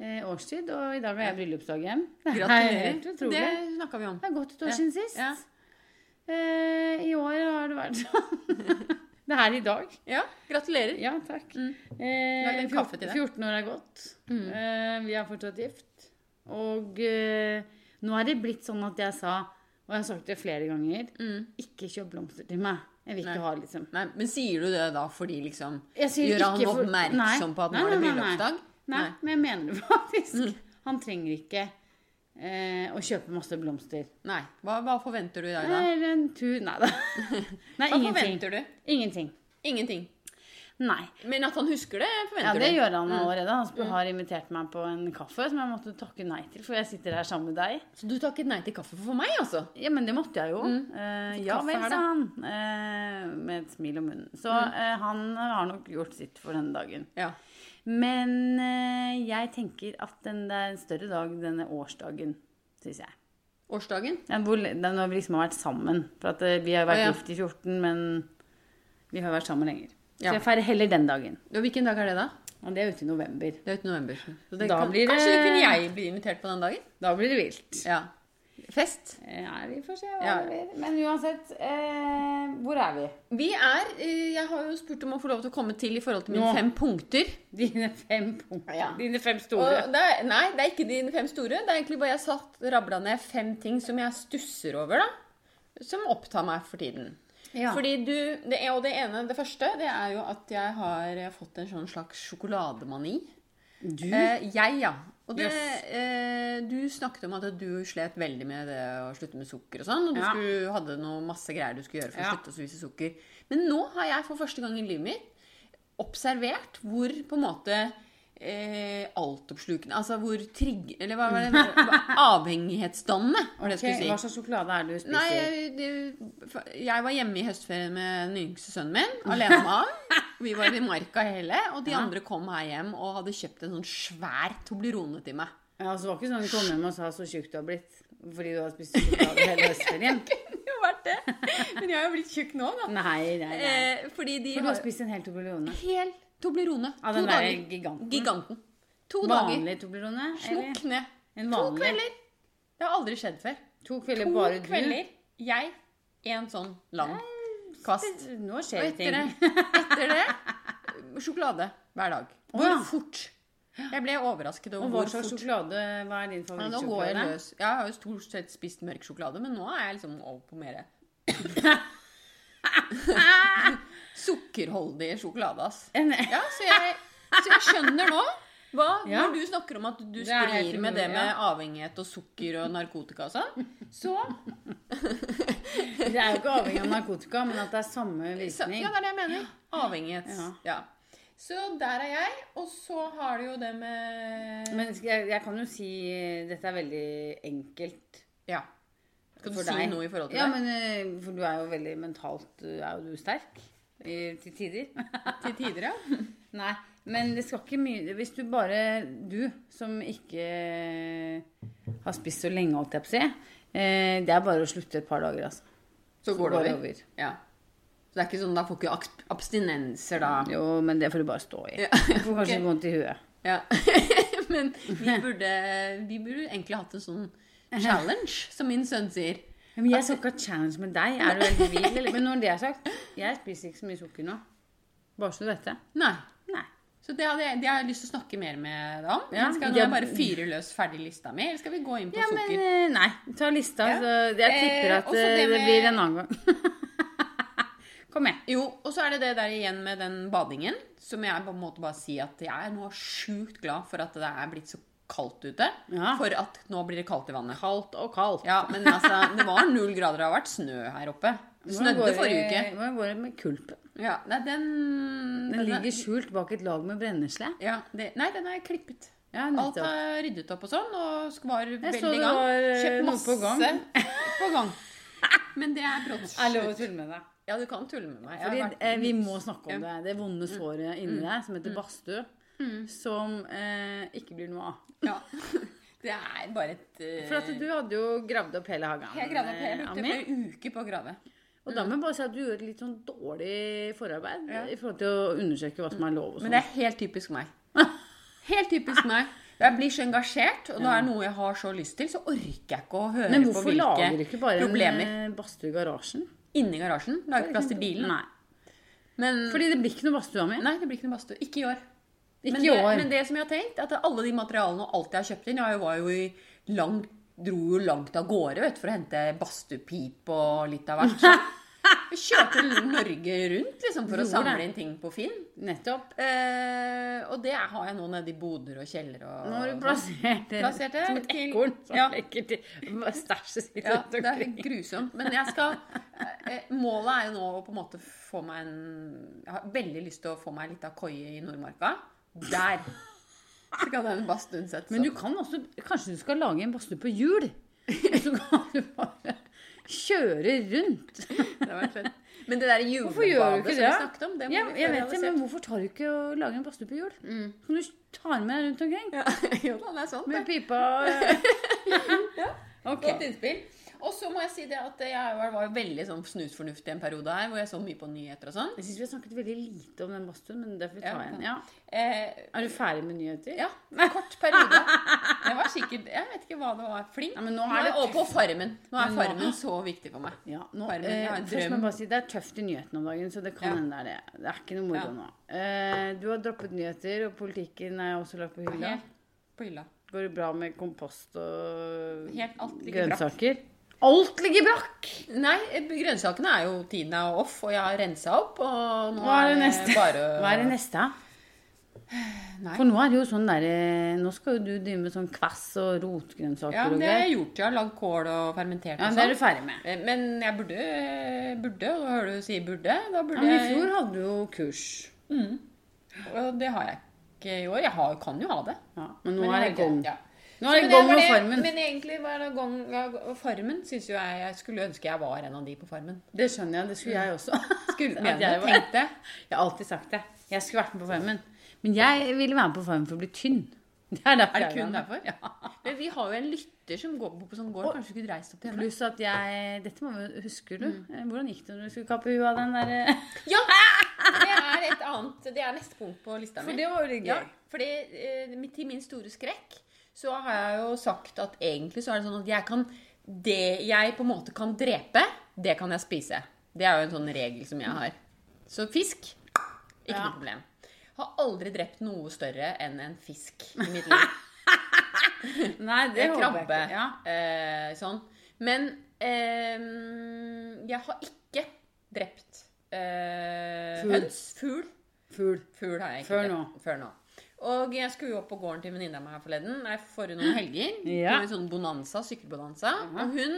Speaker 2: eh, årstid, og i dag har jeg bryllupsdag hjem. Det er
Speaker 3: Gratulerer.
Speaker 2: helt utrolig.
Speaker 3: Det
Speaker 2: Det...
Speaker 3: snakka vi om.
Speaker 2: er godt et
Speaker 3: Ja,
Speaker 2: år siden sist.
Speaker 3: ja.
Speaker 2: Eh, I år har det vært sånn. det er i dag.
Speaker 3: Ja, gratulerer.
Speaker 2: Ja, takk.
Speaker 3: Mm.
Speaker 2: Eh,
Speaker 3: Lag en kaffe til deg.
Speaker 2: 14 år er gått. Eh, vi er fortsatt gift. Og eh, nå er det blitt sånn at jeg sa, og jeg har sagt det flere ganger,
Speaker 3: Mm.
Speaker 2: ikke kjøp blomster til meg. Jeg vil ikke ha, liksom.
Speaker 3: Nei, men sier du det da fordi liksom
Speaker 2: Jeg sier
Speaker 3: Gjør han
Speaker 2: ikke for-
Speaker 3: oppmerksom
Speaker 2: Nei.
Speaker 3: på at nå
Speaker 2: Nei,
Speaker 3: er
Speaker 2: nei,
Speaker 3: det
Speaker 2: nei, nei.
Speaker 3: bryllupsdag?
Speaker 2: Nei, Mm. men jeg mener det faktisk. Han trenger ikke eh, å kjøpe masse blomster.
Speaker 3: Nei. Hva, hva forventer du i dag, da?
Speaker 2: Eller en tur Nei da. Nei,
Speaker 3: Hva
Speaker 2: ingenting.
Speaker 3: forventer du?
Speaker 2: Ingenting.
Speaker 3: Ingenting.
Speaker 2: Nei.
Speaker 3: Men at han husker det,
Speaker 2: Ja,
Speaker 3: forventer
Speaker 2: det
Speaker 3: du.
Speaker 2: gjør han allerede. Han sp- har invitert meg på en kaffe som jeg måtte takke nei til, for jeg sitter her sammen med deg.
Speaker 3: Så du takket nei til kaffe for meg, altså?
Speaker 2: Ja, men det måtte jeg jo. Eh, ja
Speaker 3: kaffe
Speaker 2: vel,
Speaker 3: her, da.
Speaker 2: sa han. Eh, med et smil om munnen. Så eh, han har nok gjort sitt for denne dagen.
Speaker 3: Ja.
Speaker 2: Men eh, jeg tenker at den, det er en større dag, denne årsdagen, syns jeg.
Speaker 3: Årsdagen?
Speaker 2: Ja, hvor, den har vi liksom har vært sammen. For at eh, vi har vært
Speaker 3: Å, ja.
Speaker 2: gift i 14, men vi har vært sammen lenger.
Speaker 3: Ja.
Speaker 2: Så jeg feirer heller den dagen.
Speaker 3: Og hvilken dag er det, da?
Speaker 2: Og det er ute i november.
Speaker 3: Det er ute i november. Så det
Speaker 2: Da
Speaker 3: kan,
Speaker 2: blir det-
Speaker 3: Kanskje kunne jeg bli invitert på den dagen?
Speaker 2: Da blir det vilt.
Speaker 3: Ja. Fest?
Speaker 2: Eh, Ja, vi får se hva
Speaker 3: Ja.
Speaker 2: det blir. Men uansett, eh, hvor er vi?
Speaker 3: Vi er eh, Jeg har jo spurt om å få lov til å komme til i forhold til mine
Speaker 2: Nå.
Speaker 3: fem punkter.
Speaker 2: Dine fem punkter.
Speaker 3: Ja.
Speaker 2: Dine fem store.
Speaker 3: Og det er, nei, det er ikke dine fem store. Det er egentlig bare jeg satt rabla ned fem ting som jeg stusser over, da. Som opptar meg for tiden.
Speaker 2: Ja.
Speaker 3: Fordi du, det, er- Og det ene, det første, det er jo at jeg har fått en sånn slags sjokolademani.
Speaker 2: Du?
Speaker 3: Eh, jeg, ja. Og det,
Speaker 2: Yes.
Speaker 3: eh, du snakket om at du slet veldig med det å slutte med sukker og sånn. Og du
Speaker 2: Ja.
Speaker 3: skulle, hadde noe masse greier du skulle gjøre for å
Speaker 2: Ja.
Speaker 3: slutte å spise sukker. Men nå har jeg for første gang i livet mitt observert hvor på en måte eh, altoppslukende Altså hvor trigg... Eller hva var det? Avhengighetsdannende, var det
Speaker 2: Ok,
Speaker 3: jeg
Speaker 2: Hva
Speaker 3: skulle si.
Speaker 2: slags sjokolade er det du spiser?
Speaker 3: Nei, jeg, det- jeg var hjemme i høstferien med den yngste sønnen min, alene med han. Vi var i marka hele, og de andre kom her hjem og hadde kjøpt en sånn svær Toblerone til meg.
Speaker 2: ja, så det var ikke sånn du kom hjem og sa så tjukk du har blitt fordi du har spist sjokolade hele høstferien?
Speaker 3: kunne jo vært det. Men jeg er jo blitt tjukk nå, da.
Speaker 2: Nei, nei, nei.
Speaker 3: Eh, fordi de
Speaker 2: For du har
Speaker 3: har
Speaker 2: spist en hel Toblerone?
Speaker 3: hel Toblerone.
Speaker 2: Av den der giganten?
Speaker 3: Giganten. To dager.
Speaker 2: Vanlig Toblerone? eller?
Speaker 3: Smokk ned.
Speaker 2: En
Speaker 3: To
Speaker 2: vanlig.
Speaker 3: kvelder. Det har aldri skjedd før.
Speaker 2: To kvelder
Speaker 3: To
Speaker 2: bare du?
Speaker 3: kvelder. Jeg. En sånn lang. Kast.
Speaker 2: Nå
Speaker 3: Og
Speaker 2: skjer det
Speaker 3: etter
Speaker 2: ting.
Speaker 3: det, etter det Sjokolade hver dag. Hvor
Speaker 2: ja.
Speaker 3: fort? Jeg ble overrasket
Speaker 2: Og
Speaker 3: over
Speaker 2: hva
Speaker 3: hvor
Speaker 2: slags
Speaker 3: fort
Speaker 2: sjokolade Hva er din
Speaker 3: Ja, nå går jeg
Speaker 2: favorittsjokolade?
Speaker 3: løs. Jeg har jo stort sett spist mørk sjokolade, men nå er jeg liksom over på mer Sukkerholdig sjokolade, ass.
Speaker 2: En-
Speaker 3: Ja, så jeg, så jeg skjønner nå hva,
Speaker 2: Ja.
Speaker 3: Når du snakker om at du
Speaker 2: Det er helt
Speaker 3: sklir med det
Speaker 2: umulig,
Speaker 3: med
Speaker 2: ja.
Speaker 3: avhengighet og sukker og narkotika og sånn, så
Speaker 2: Det er jo ikke avhengig av narkotika, men at det er samme
Speaker 3: Så-
Speaker 2: virkning.
Speaker 3: Ja, det er det jeg mener. Avhengighet.
Speaker 2: Ja.
Speaker 3: Ja. Så der er jeg. Og så har du jo det med
Speaker 2: Men skal jeg, jeg kan jo si eh, Dette er veldig enkelt
Speaker 3: Ja. Skal du
Speaker 2: for
Speaker 3: si
Speaker 2: deg.
Speaker 3: noe i forhold til
Speaker 2: ja,
Speaker 3: det?
Speaker 2: men, eh, for du er jo veldig mentalt eh, Er jo du sterk eh, til tider?
Speaker 3: Til tider, ja.
Speaker 2: Nei, men det skal ikke mye Hvis du bare Du som ikke har spist så lenge, holdt jeg på å si eh, Det er bare å slutte et par dager, altså.
Speaker 3: Så går det over.
Speaker 2: over.
Speaker 3: Ja. Så det er ikke sånn, da får ikke abs- abstinenser, da.
Speaker 2: Jo, men det får du bare stå i.
Speaker 3: Ja,
Speaker 2: Du får kanskje
Speaker 3: ok.
Speaker 2: vondt i huet.
Speaker 3: Ja. men vi burde, vi burde egentlig hatt en sånn challenge, som min sønn sier.
Speaker 2: Men jeg skal ikke ha challenge med deg. Er du helt vill, eller? Men når det er sagt, jeg spiser ikke så mye sukker nå. Bare så du vet det.
Speaker 3: Nei.
Speaker 2: Nei.
Speaker 3: Så det, hadde jeg, det har jeg lyst til å snakke mer med deg om.
Speaker 2: Ja,
Speaker 3: Men skal
Speaker 2: ja.
Speaker 3: jeg bare fyre løs ferdig lista mi, eller skal vi gå inn på
Speaker 2: Ja, men
Speaker 3: sukker?
Speaker 2: eh, nei. Ta lista.
Speaker 3: Ja.
Speaker 2: Så jeg tipper
Speaker 3: Eh,
Speaker 2: at
Speaker 3: også
Speaker 2: eh,
Speaker 3: det
Speaker 2: det
Speaker 3: med-
Speaker 2: blir en annen gang. Kom igjen.
Speaker 3: Jo, og så er det det der igjen med den badingen, som jeg på en måte bare sier at jeg er nå sjukt glad for at det er blitt så kaldt ute.
Speaker 2: Ja.
Speaker 3: For at nå blir det kaldt i vannet.
Speaker 2: Kaldt og kaldt.
Speaker 3: Ja, men altså, det var null grader, det har vært snø her oppe. Det snødde forrige uke.
Speaker 2: Hvordan går det med kulpen?
Speaker 3: Ja, nei, den
Speaker 2: Den ligger skjult bak et lag med brennesle.
Speaker 3: ja, det, Nei, den har jeg klippet.
Speaker 2: Ja,
Speaker 3: Alt
Speaker 2: nettopp.
Speaker 3: er ryddet opp og sånn, og sk- var veldig
Speaker 2: så det
Speaker 3: i gang.
Speaker 2: var, eh,
Speaker 3: Kjøpt
Speaker 2: noe
Speaker 3: masse
Speaker 2: på gang.
Speaker 3: på gang. Men det er
Speaker 2: Er lov å
Speaker 3: brått.
Speaker 2: tulle med deg.
Speaker 3: Ja, du kan tulle med meg. Jeg har
Speaker 2: Fordi
Speaker 3: vært Mm.
Speaker 2: eh, vi
Speaker 3: litt-
Speaker 2: må snakke om det. Det vonde såret inni deg som
Speaker 3: Mm.
Speaker 2: heter badstue. Som eh, ikke blir noe av.
Speaker 3: Ja. Det er bare et eh,
Speaker 2: For at du hadde jo gravd opp hele hagen.
Speaker 3: Jeg gravde opp
Speaker 2: eh,
Speaker 3: hele brukte
Speaker 2: Ami.
Speaker 3: flere uker på å grave.
Speaker 2: Og da må jeg bare si at du gjør et litt sånn dårlig forarbeid
Speaker 3: Ja.
Speaker 2: i forhold til å undersøke hva som er lov og sånn.
Speaker 3: Men det er helt typisk meg. Helt typisk meg. Jeg blir så engasjert, og når det er noe jeg har så lyst til, så orker jeg ikke å høre
Speaker 2: sånn. Men
Speaker 3: på
Speaker 2: hvorfor
Speaker 3: hvilke
Speaker 2: lager du ikke bare
Speaker 3: problemer.
Speaker 2: en eh, badstue i garasjen?
Speaker 3: Inni garasjen. Lager plass til bilen.
Speaker 2: Nei.
Speaker 3: Men
Speaker 2: Fordi det blir ikke noe badstue av meg.
Speaker 3: Nei, det blir ikke noe badstue. Ikke i år.
Speaker 2: Ikke
Speaker 3: men,
Speaker 2: i år.
Speaker 3: Det, men det som jeg har tenkt, at alle de materialene og alt jeg har kjøpt inn Jeg var jo i langt, dro jo langt av gårde vet, for å hente badstuepip og litt av hvert. Så Jeg kjørte Norge rundt liksom, for å
Speaker 2: Gjorde
Speaker 3: samle
Speaker 2: det.
Speaker 3: inn ting på Finn.
Speaker 2: Nettopp.
Speaker 3: Eh, og det har jeg nå nede i boder og kjeller og sånn.
Speaker 2: Nå har du plassert det
Speaker 3: Plassert det
Speaker 2: som et
Speaker 3: til-
Speaker 2: ekorn som
Speaker 3: Ja.
Speaker 2: lekker til stæsjet sitt
Speaker 3: Ja,
Speaker 2: rundt
Speaker 3: det er
Speaker 2: omkring.
Speaker 3: grusomt. Men jeg skal eh, Målet er jo nå å på en måte få meg en Jeg har veldig lyst til å få meg ei lita koie i Nordmarka. Der! Så kan den badstuen sette
Speaker 2: Men
Speaker 3: seg
Speaker 2: du
Speaker 3: opp.
Speaker 2: kan også Kanskje du skal lage en badstue på hjul? Og så kan du bare kjøre rundt.
Speaker 3: Det hadde vært fett. Men det der
Speaker 2: Hvorfor gjør du
Speaker 3: julebadet
Speaker 2: ikke
Speaker 3: som vi
Speaker 2: det?
Speaker 3: snakket om, det må
Speaker 2: ja,
Speaker 3: vi
Speaker 2: jeg
Speaker 3: få
Speaker 2: vet det, men
Speaker 3: realisert. Mm.
Speaker 2: hvorfor tar du ikke og lager en badstue på hjul? Som du tar med deg rundt omkring?
Speaker 3: Ja, jo da, det er sant.
Speaker 2: Med pipa og Ok.
Speaker 3: Godt innspill. Og så må jeg si det at jeg var var veldig sånn snusfornuftig en periode her, hvor jeg så mye på nyheter og sånn.
Speaker 2: Jeg syns vi har snakket veldig lite om den badstuen, men derfor tar jeg
Speaker 3: Ja.
Speaker 2: en. Ja.
Speaker 3: Eh,
Speaker 2: Er du ferdig med nyheter?
Speaker 3: ja, en kort periode. Det var sikkert Jeg vet ikke hva det var. Flink.
Speaker 2: Ja, men nå
Speaker 3: Nå
Speaker 2: er
Speaker 3: er
Speaker 2: det
Speaker 3: jeg over på Farmen. Nå er
Speaker 2: Men nå-
Speaker 3: Farmen så viktig for meg.
Speaker 2: Ja, nå,
Speaker 3: Farmen, jeg
Speaker 2: eh,
Speaker 3: har en
Speaker 2: først må
Speaker 3: drøm.
Speaker 2: jeg bare si Det er tøft i nyhetene om dagen, så det kan
Speaker 3: Ja.
Speaker 2: hende det er det. Det er ikke noe moro
Speaker 3: Ja.
Speaker 2: nå. Eh, du har droppet nyheter, og politikken er også lagt på hylla.
Speaker 3: Helt på hylla.
Speaker 2: Går det bra med kompost og
Speaker 3: Helt alt ligger brakk.
Speaker 2: grønnsaker? Alt ligger brakk!
Speaker 3: Nei, grønnsakene er jo Tina og off, og jeg har rensa opp. Og nå
Speaker 2: Hva er det neste?
Speaker 3: bare
Speaker 2: Hva er det neste?
Speaker 3: Nei.
Speaker 2: For nå er det jo sånn der, eh, nå skal jo du drive med sånn kvass og rotgrønnsaker
Speaker 3: Ja,
Speaker 2: og
Speaker 3: det
Speaker 2: greier.
Speaker 3: har jeg gjort. Jeg har lagd kål og fermentert
Speaker 2: Ja, men
Speaker 3: og
Speaker 2: det er
Speaker 3: sånn.
Speaker 2: du ferdig med.
Speaker 3: Eh, Men jeg burde Burde, og hører du sier burde, da
Speaker 2: Ja,
Speaker 3: burde
Speaker 2: men I
Speaker 3: jeg
Speaker 2: fjor hadde du jo kurs.
Speaker 3: Og det har jeg ikke i år. Jeg har, kan jo ha det.
Speaker 2: Ja, men nå
Speaker 3: men jeg
Speaker 2: er det
Speaker 3: har ikke-
Speaker 2: gong.
Speaker 3: ja.
Speaker 2: Nå er
Speaker 3: Men
Speaker 2: det
Speaker 3: det
Speaker 2: gong
Speaker 3: var
Speaker 2: og
Speaker 3: det-
Speaker 2: farmen.
Speaker 3: Men egentlig var det gong ja, og farmen. Synes jo jeg, jeg skulle ønske jeg var en av de på farmen.
Speaker 2: Det skjønner jeg. Det skulle jeg også.
Speaker 3: Skulle
Speaker 2: At jeg var-
Speaker 3: tenkt det.
Speaker 2: Jeg har alltid sagt det. Jeg skulle vært med på Farmen. Men jeg ville være med på Farmen for å bli tynn. Det er, derfor
Speaker 3: Er
Speaker 2: jeg
Speaker 3: det
Speaker 2: var
Speaker 3: kun
Speaker 2: med.
Speaker 3: derfor?
Speaker 2: Ja.
Speaker 3: Men vi har jo en lytter som går på som går. Kanskje du kunne reist opp til henne?
Speaker 2: Pluss at jeg Dette må vi Husker du? Eh, Hvordan gikk det når du skulle kappe huet av den eh? derre
Speaker 3: Ja! Det er et annet Det er neste punkt på lista mi.
Speaker 2: var jo litt
Speaker 3: Ja, fordi eh, til min store skrekk så har jeg jo sagt at egentlig så er det sånn at jeg kan Det jeg på en måte kan drepe, det kan jeg spise. Det er jo en sånn regel som jeg har. Så fisk ikke
Speaker 2: Ja.
Speaker 3: noe problem. Har aldri drept noe større enn en fisk i mitt liv.
Speaker 2: Nei,
Speaker 3: Det
Speaker 2: det
Speaker 3: er
Speaker 2: håper jeg
Speaker 3: krabbe.
Speaker 2: ikke. Ja.
Speaker 3: Eh, sånn. Men ehm, jeg har ikke drept eh,
Speaker 2: Fugl.
Speaker 3: høns. Fugl.
Speaker 2: Fugl.
Speaker 3: Fugl har jeg ikke
Speaker 2: Før
Speaker 3: drept.
Speaker 2: nå.
Speaker 3: Før nå. Og jeg skulle jo opp på gården til venninna mi her forleden. Nei, forrige noen helger.
Speaker 2: Ja.
Speaker 3: På en sånn bonanza, sykkelbonanza. Og hun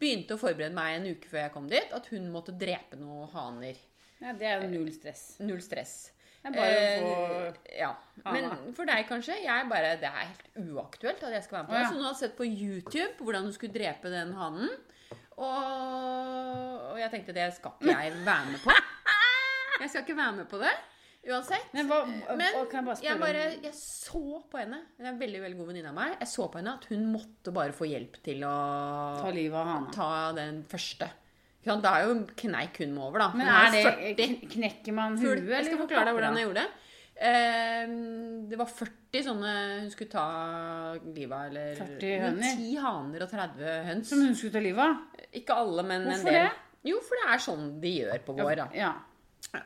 Speaker 3: begynte å forberede meg en uke før jeg kom dit, at hun måtte drepe noen haner.
Speaker 2: ja, det er jo null stress.
Speaker 3: Null stress.
Speaker 2: Det er bare å
Speaker 3: Eh, ja. Men
Speaker 2: hana.
Speaker 3: for deg kanskje, jeg bare, det er helt uaktuelt at jeg skal være med på
Speaker 2: Å,
Speaker 3: det.
Speaker 2: ja.
Speaker 3: Så hun hadde sett på YouTube hvordan hun skulle drepe den hanen. Og, og jeg tenkte det skal ikke jeg være med på. Jeg skal ikke være med på det uansett.
Speaker 2: Men hva
Speaker 3: Men
Speaker 2: å, Kan jeg bare spørre
Speaker 3: jeg, bare,
Speaker 2: om
Speaker 3: jeg så på henne Hun er en veldig veldig god venninne av meg. Jeg så på henne at hun måtte bare få hjelp til å
Speaker 2: Ta livet av hana.
Speaker 3: ta den første. Ikke sant? Da er jo kneik hun må over, da.
Speaker 2: Men
Speaker 3: hun
Speaker 2: er det
Speaker 3: 40.
Speaker 2: kn- Knekker man
Speaker 3: Fugl.
Speaker 2: huet, Mm. eller?
Speaker 3: Jeg skal forklare deg hvordan jeg gjorde det. Ehm, det var 40 sånne hun skulle ta livet av, eller
Speaker 2: 40 høner?
Speaker 3: 10 haner og 30 høns.
Speaker 2: Som hun skulle ta livet av?
Speaker 3: Ikke alle, men
Speaker 2: Hvorfor
Speaker 3: en del.
Speaker 2: det?
Speaker 3: Jo, for det er sånn de gjør på vår. Da.
Speaker 2: Ja.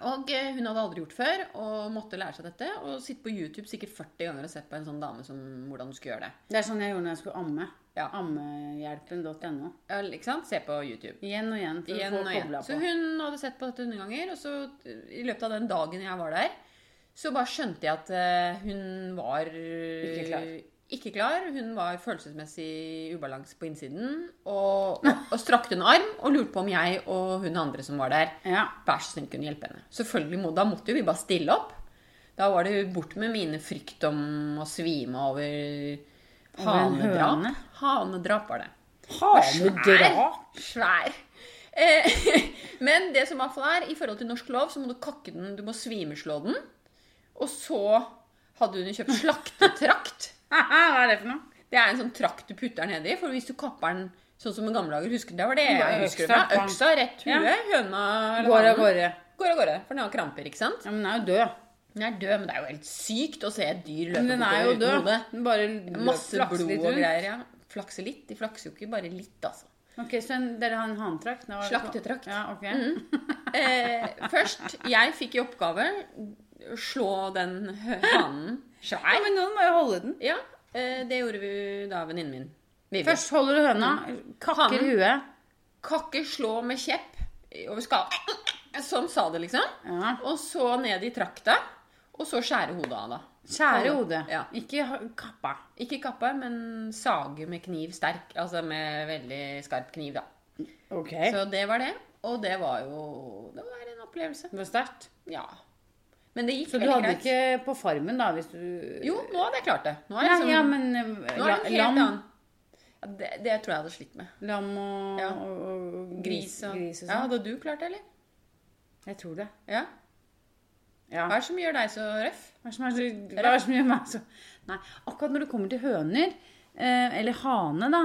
Speaker 3: Og eh, hun hadde aldri gjort før, og måtte lære seg dette. Og sitte på YouTube sikkert 40 ganger og sett på en sånn dame som hvordan hun skulle gjøre det.
Speaker 2: Det er sånn jeg gjorde når jeg skulle amme.
Speaker 3: Ja.
Speaker 2: Ammehjelpen.no.
Speaker 3: Ja, ikke sant? Se på YouTube.
Speaker 2: Igjen og igjen for
Speaker 3: Igjen
Speaker 2: å
Speaker 3: og
Speaker 2: få
Speaker 3: igjen.
Speaker 2: kobla
Speaker 3: Så
Speaker 2: på.
Speaker 3: hun hadde sett på dette hundre ganger, og så i løpet av den dagen jeg var der, så bare skjønte jeg at eh, hun var eh,
Speaker 2: Ikke klar.
Speaker 3: Ikke klar. Hun var følelsesmessig i ubalanse på innsiden. Og, og, og strakte en arm og lurte på om jeg og hun andre som var der,
Speaker 2: Ja.
Speaker 3: vær så snill kunne hjelpe henne. Selvfølgelig, må- Da måtte jo vi bare stille opp. Da var det jo bort med mine frykt om å svime over
Speaker 2: Over en
Speaker 3: hanedrap.
Speaker 2: høne?
Speaker 3: Hanedrap var det.
Speaker 2: Hanedrap?
Speaker 3: Svær. Eh, men det som i hvert fall er, i forhold til norsk lov, så må du kakke den, du må svimeslå den. Og så hadde hun jo kjøpt slaktetrakt.
Speaker 2: Haha, Hva er det for noe?
Speaker 3: Det er en sånn trakt du putter den nedi, for hvis du kapper den sånn som i gamle dager husker du, Det var det jeg
Speaker 2: Bare
Speaker 3: husker
Speaker 2: øksa,
Speaker 3: fra.
Speaker 2: pang.
Speaker 3: Øksa, rett hue, høna eller
Speaker 2: Går av
Speaker 3: hanen.
Speaker 2: gårde.
Speaker 3: Går av gårde. For den har kramper, ikke sant?
Speaker 2: Ja, men den er jo død.
Speaker 3: Den er død, men det er jo helt sykt å se et dyr løpe
Speaker 2: Men den er jo
Speaker 3: bortover uten
Speaker 2: død.
Speaker 3: hode.
Speaker 2: Den bare
Speaker 3: Masse
Speaker 2: flakser
Speaker 3: blod og
Speaker 2: litt rundt.
Speaker 3: greier. ja. Flakser litt. De flakser jo ikke bare litt, altså.
Speaker 2: Ok, så en, dere har en hantrakt? Nå var det på-
Speaker 3: Slaktetrakt.
Speaker 2: Ja, ok.
Speaker 3: Eh, først, jeg fikk i oppgave slå den hø- hanen svær.
Speaker 2: Ja, men noen må jo holde den.
Speaker 3: Ja, eh, det gjorde vi da, venninnen min. Vivi.
Speaker 2: Først holder du høna, kakker
Speaker 3: Hanen.
Speaker 2: huet.
Speaker 3: kakke, slå med kjepp over skallen. Sånn sa det, liksom.
Speaker 2: Ja.
Speaker 3: Og så ned i trakta. Og så skjære hodet av, da.
Speaker 2: Skjære hodet.
Speaker 3: Ja.
Speaker 2: Ikke ha- kappa.
Speaker 3: Ikke kappe, men sage med kniv sterk. Altså med veldig skarp kniv, da.
Speaker 2: Ok.
Speaker 3: Så det var det. Og det var jo Det var en opplevelse.
Speaker 2: det var sterkt.
Speaker 3: Ja. Men det gikk
Speaker 2: Så du
Speaker 3: helt
Speaker 2: hadde
Speaker 3: greit.
Speaker 2: ikke på farmen, da, hvis du
Speaker 3: Jo, nå hadde jeg klart det. Nå er
Speaker 2: Nei,
Speaker 3: jeg liksom,
Speaker 2: ja, men eh,
Speaker 3: nå er det en helt
Speaker 2: la- lam,
Speaker 3: annen. Ja, det, det tror jeg hadde slitt med.
Speaker 2: lam og,
Speaker 3: Ja.
Speaker 2: og, og
Speaker 3: Gris og,
Speaker 2: gris og
Speaker 3: Ja,
Speaker 2: sånn.
Speaker 3: Hadde du klart det, eller?
Speaker 2: Jeg tror det.
Speaker 3: Ja.
Speaker 2: Ja.
Speaker 3: Hva er det som gjør deg så røff?
Speaker 2: Hva er det som er så, hva er det som gjør meg så Nei, akkurat når det kommer til høner, eh, eller hane, da,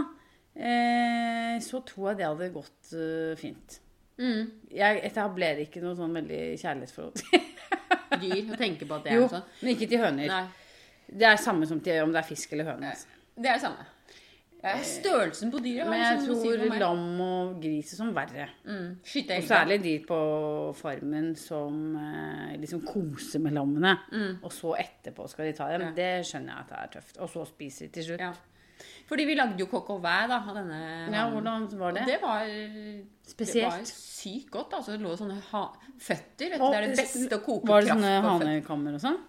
Speaker 2: eh, så tror jeg det hadde gått eh, fint.
Speaker 3: Mm.
Speaker 2: Jeg etablerer ikke noe sånn veldig kjærlighetsforhold til
Speaker 3: Dyr. Å tenke på at det er
Speaker 2: Jo,
Speaker 3: en sånn.
Speaker 2: men ikke til høner.
Speaker 3: Nei.
Speaker 2: Det er samme som til om det er fisk eller høne. Altså.
Speaker 3: Det er det samme. Ja, størrelsen på dyret
Speaker 2: Eh,
Speaker 3: har
Speaker 2: Men jeg
Speaker 3: liksom noe å si
Speaker 2: tror
Speaker 3: for meg.
Speaker 2: lam og gris er sånn verre.
Speaker 3: Mm. Skyte
Speaker 2: Og
Speaker 3: elg.
Speaker 2: særlig de på farmen som eh, liksom koser med lammene. Og så etterpå skal de ta dem.
Speaker 3: Mm. Ja.
Speaker 2: Det skjønner jeg at det er tøft. Og så spiser de til slutt.
Speaker 3: Ja. Fordi vi lagde jo kokk au vin da, av denne
Speaker 2: Ja,
Speaker 3: hanen.
Speaker 2: hvordan var det?
Speaker 3: Det var
Speaker 2: Spesielt.
Speaker 3: Det var sykt godt. Altså, det lå sånne ha føtter. Vet du,
Speaker 2: Og-
Speaker 3: det er det beste å koke
Speaker 2: Var det
Speaker 3: kraft
Speaker 2: sånne
Speaker 3: på føtter.
Speaker 2: hanekammer og sånn?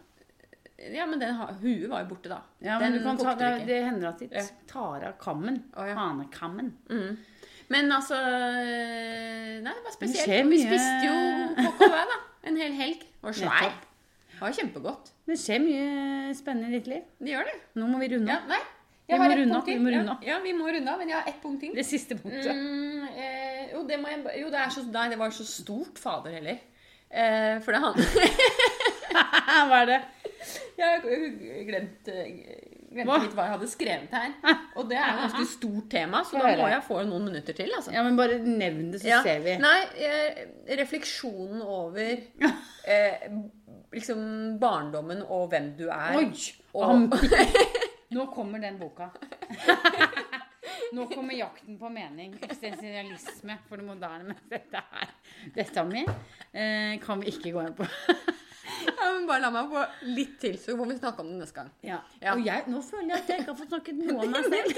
Speaker 3: Ja, men den ha- huet var jo borte, da.
Speaker 2: Ja, men
Speaker 3: den
Speaker 2: du kan ta,
Speaker 3: kokte
Speaker 2: det,
Speaker 3: vi ikke.
Speaker 2: det hender at de
Speaker 3: Ja.
Speaker 2: tar av kammen.
Speaker 3: Å, ja.
Speaker 2: Hanekammen.
Speaker 3: Mm. Men altså eh, Nei, det var spesielt.
Speaker 2: skjer
Speaker 3: Vi
Speaker 2: mye-
Speaker 3: spiste jo kokk au vin, da. En hel helg. Det var svær.
Speaker 2: Nettopp.
Speaker 3: Det var kjempegodt.
Speaker 2: Men det skjer mye spennende i ditt liv.
Speaker 3: Det gjør det.
Speaker 2: Nå må vi runde
Speaker 3: Ja,
Speaker 2: av.
Speaker 3: nei.
Speaker 2: Mm. Vi må
Speaker 3: ett
Speaker 2: runde
Speaker 3: punkt
Speaker 2: opp, vi
Speaker 3: til.
Speaker 2: må
Speaker 3: Ja,
Speaker 2: runde opp.
Speaker 3: Ja, vi må runde av, men jeg har ett punkt til.
Speaker 2: Det siste punktet.
Speaker 3: Mm, eh, jo, det må jeg, ba- jo, det er så Nei, det var så stort, fader heller. Eh, for det handler Mm.
Speaker 2: Hva er det?
Speaker 3: Jeg har g- glemt, eh, glemte
Speaker 2: Hva?
Speaker 3: litt hva jeg hadde skrevet her. Og det er et ganske stort tema, så
Speaker 2: Få
Speaker 3: da
Speaker 2: høre.
Speaker 3: må jeg få noen minutter til. altså.
Speaker 2: Ja, men bare nevn det, så
Speaker 3: Ja.
Speaker 2: ser vi.
Speaker 3: Nei, eh, refleksjonen over eh, liksom barndommen og hvem du er.
Speaker 2: Oi!
Speaker 3: og,
Speaker 2: Nå kommer den boka. Nå kommer jakten på mening. Eksistensialisme for det moderne. Men dette er Dette mi eh, kan vi ikke gå inn på.
Speaker 3: Ja, men bare la meg få litt til, så får vi snakke om det neste gang.
Speaker 2: Ja.
Speaker 3: Ja.
Speaker 2: Og jeg, nå føler jeg at jeg ikke har fått snakket noe om meg selv.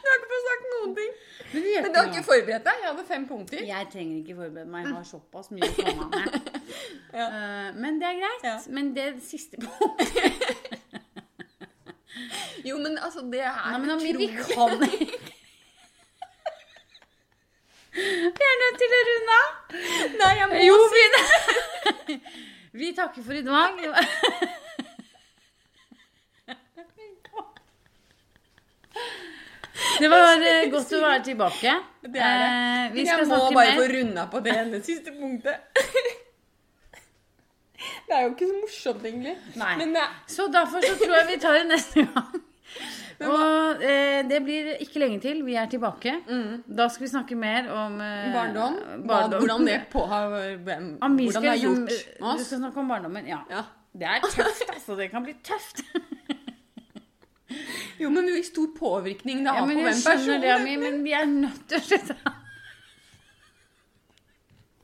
Speaker 3: Du har ikke fått sagt noen ting.
Speaker 2: Men det gjør
Speaker 3: Men du har
Speaker 2: ikke noe.
Speaker 3: ikke forberedt deg? Jeg hadde fem punkter.
Speaker 2: Jeg trenger ikke forberede meg. Jeg har såpass mye å komme med.
Speaker 3: Ja.
Speaker 2: Eh, men det er greit.
Speaker 3: Ja.
Speaker 2: Men det siste punktet
Speaker 3: Jo, men altså, det er
Speaker 2: Nei, men Amir, vi
Speaker 3: utrolig.
Speaker 2: kan Vi er nødt til å runde av.
Speaker 3: Nei, jeg må
Speaker 2: Jo,
Speaker 3: si det.
Speaker 2: Vi takker for i dag. Det var eh, godt å være tilbake.
Speaker 3: Det er det.
Speaker 2: Eh, Vi skal
Speaker 3: Jeg må
Speaker 2: snakke
Speaker 3: bare få
Speaker 2: mer.
Speaker 3: runda på det ene siste punktet. Det er jo ikke så morsomt, egentlig.
Speaker 2: Nei.
Speaker 3: Men eh, det,
Speaker 2: Så derfor så tror jeg vi tar det neste gang. Og eh, det blir ikke lenge til vi er tilbake. Da skal vi snakke mer om eh,
Speaker 3: Mm. barndom, hva,
Speaker 2: barndom.
Speaker 3: hvordan det på har hvem,
Speaker 2: Amir
Speaker 3: Hvordan det har
Speaker 2: skal liksom-
Speaker 3: gjort med
Speaker 2: Du
Speaker 3: oss.
Speaker 2: skal snakke om barndommen. Ja.
Speaker 3: Ja.
Speaker 2: Det er tøft, altså. Det kan bli tøft.
Speaker 3: Jo, men hvor stor påvirkning det har
Speaker 2: Ja, men jeg
Speaker 3: på hvem
Speaker 2: skjønner
Speaker 3: personen
Speaker 2: det, Amir, men vi er nødt til å slutte.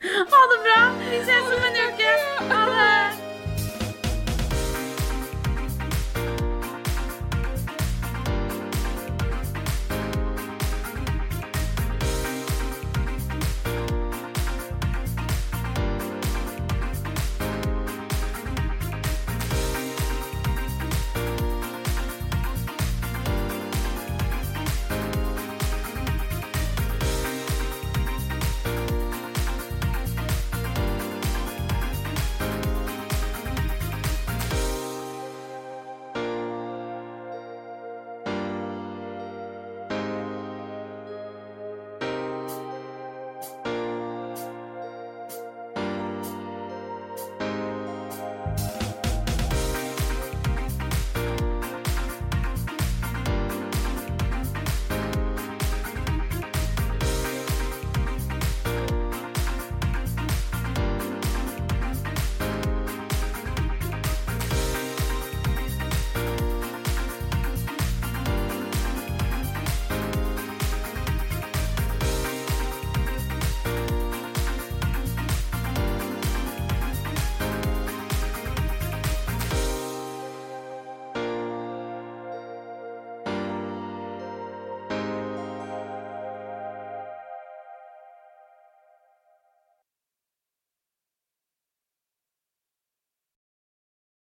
Speaker 2: Ha det bra. Vi ses om en uke. Ha det.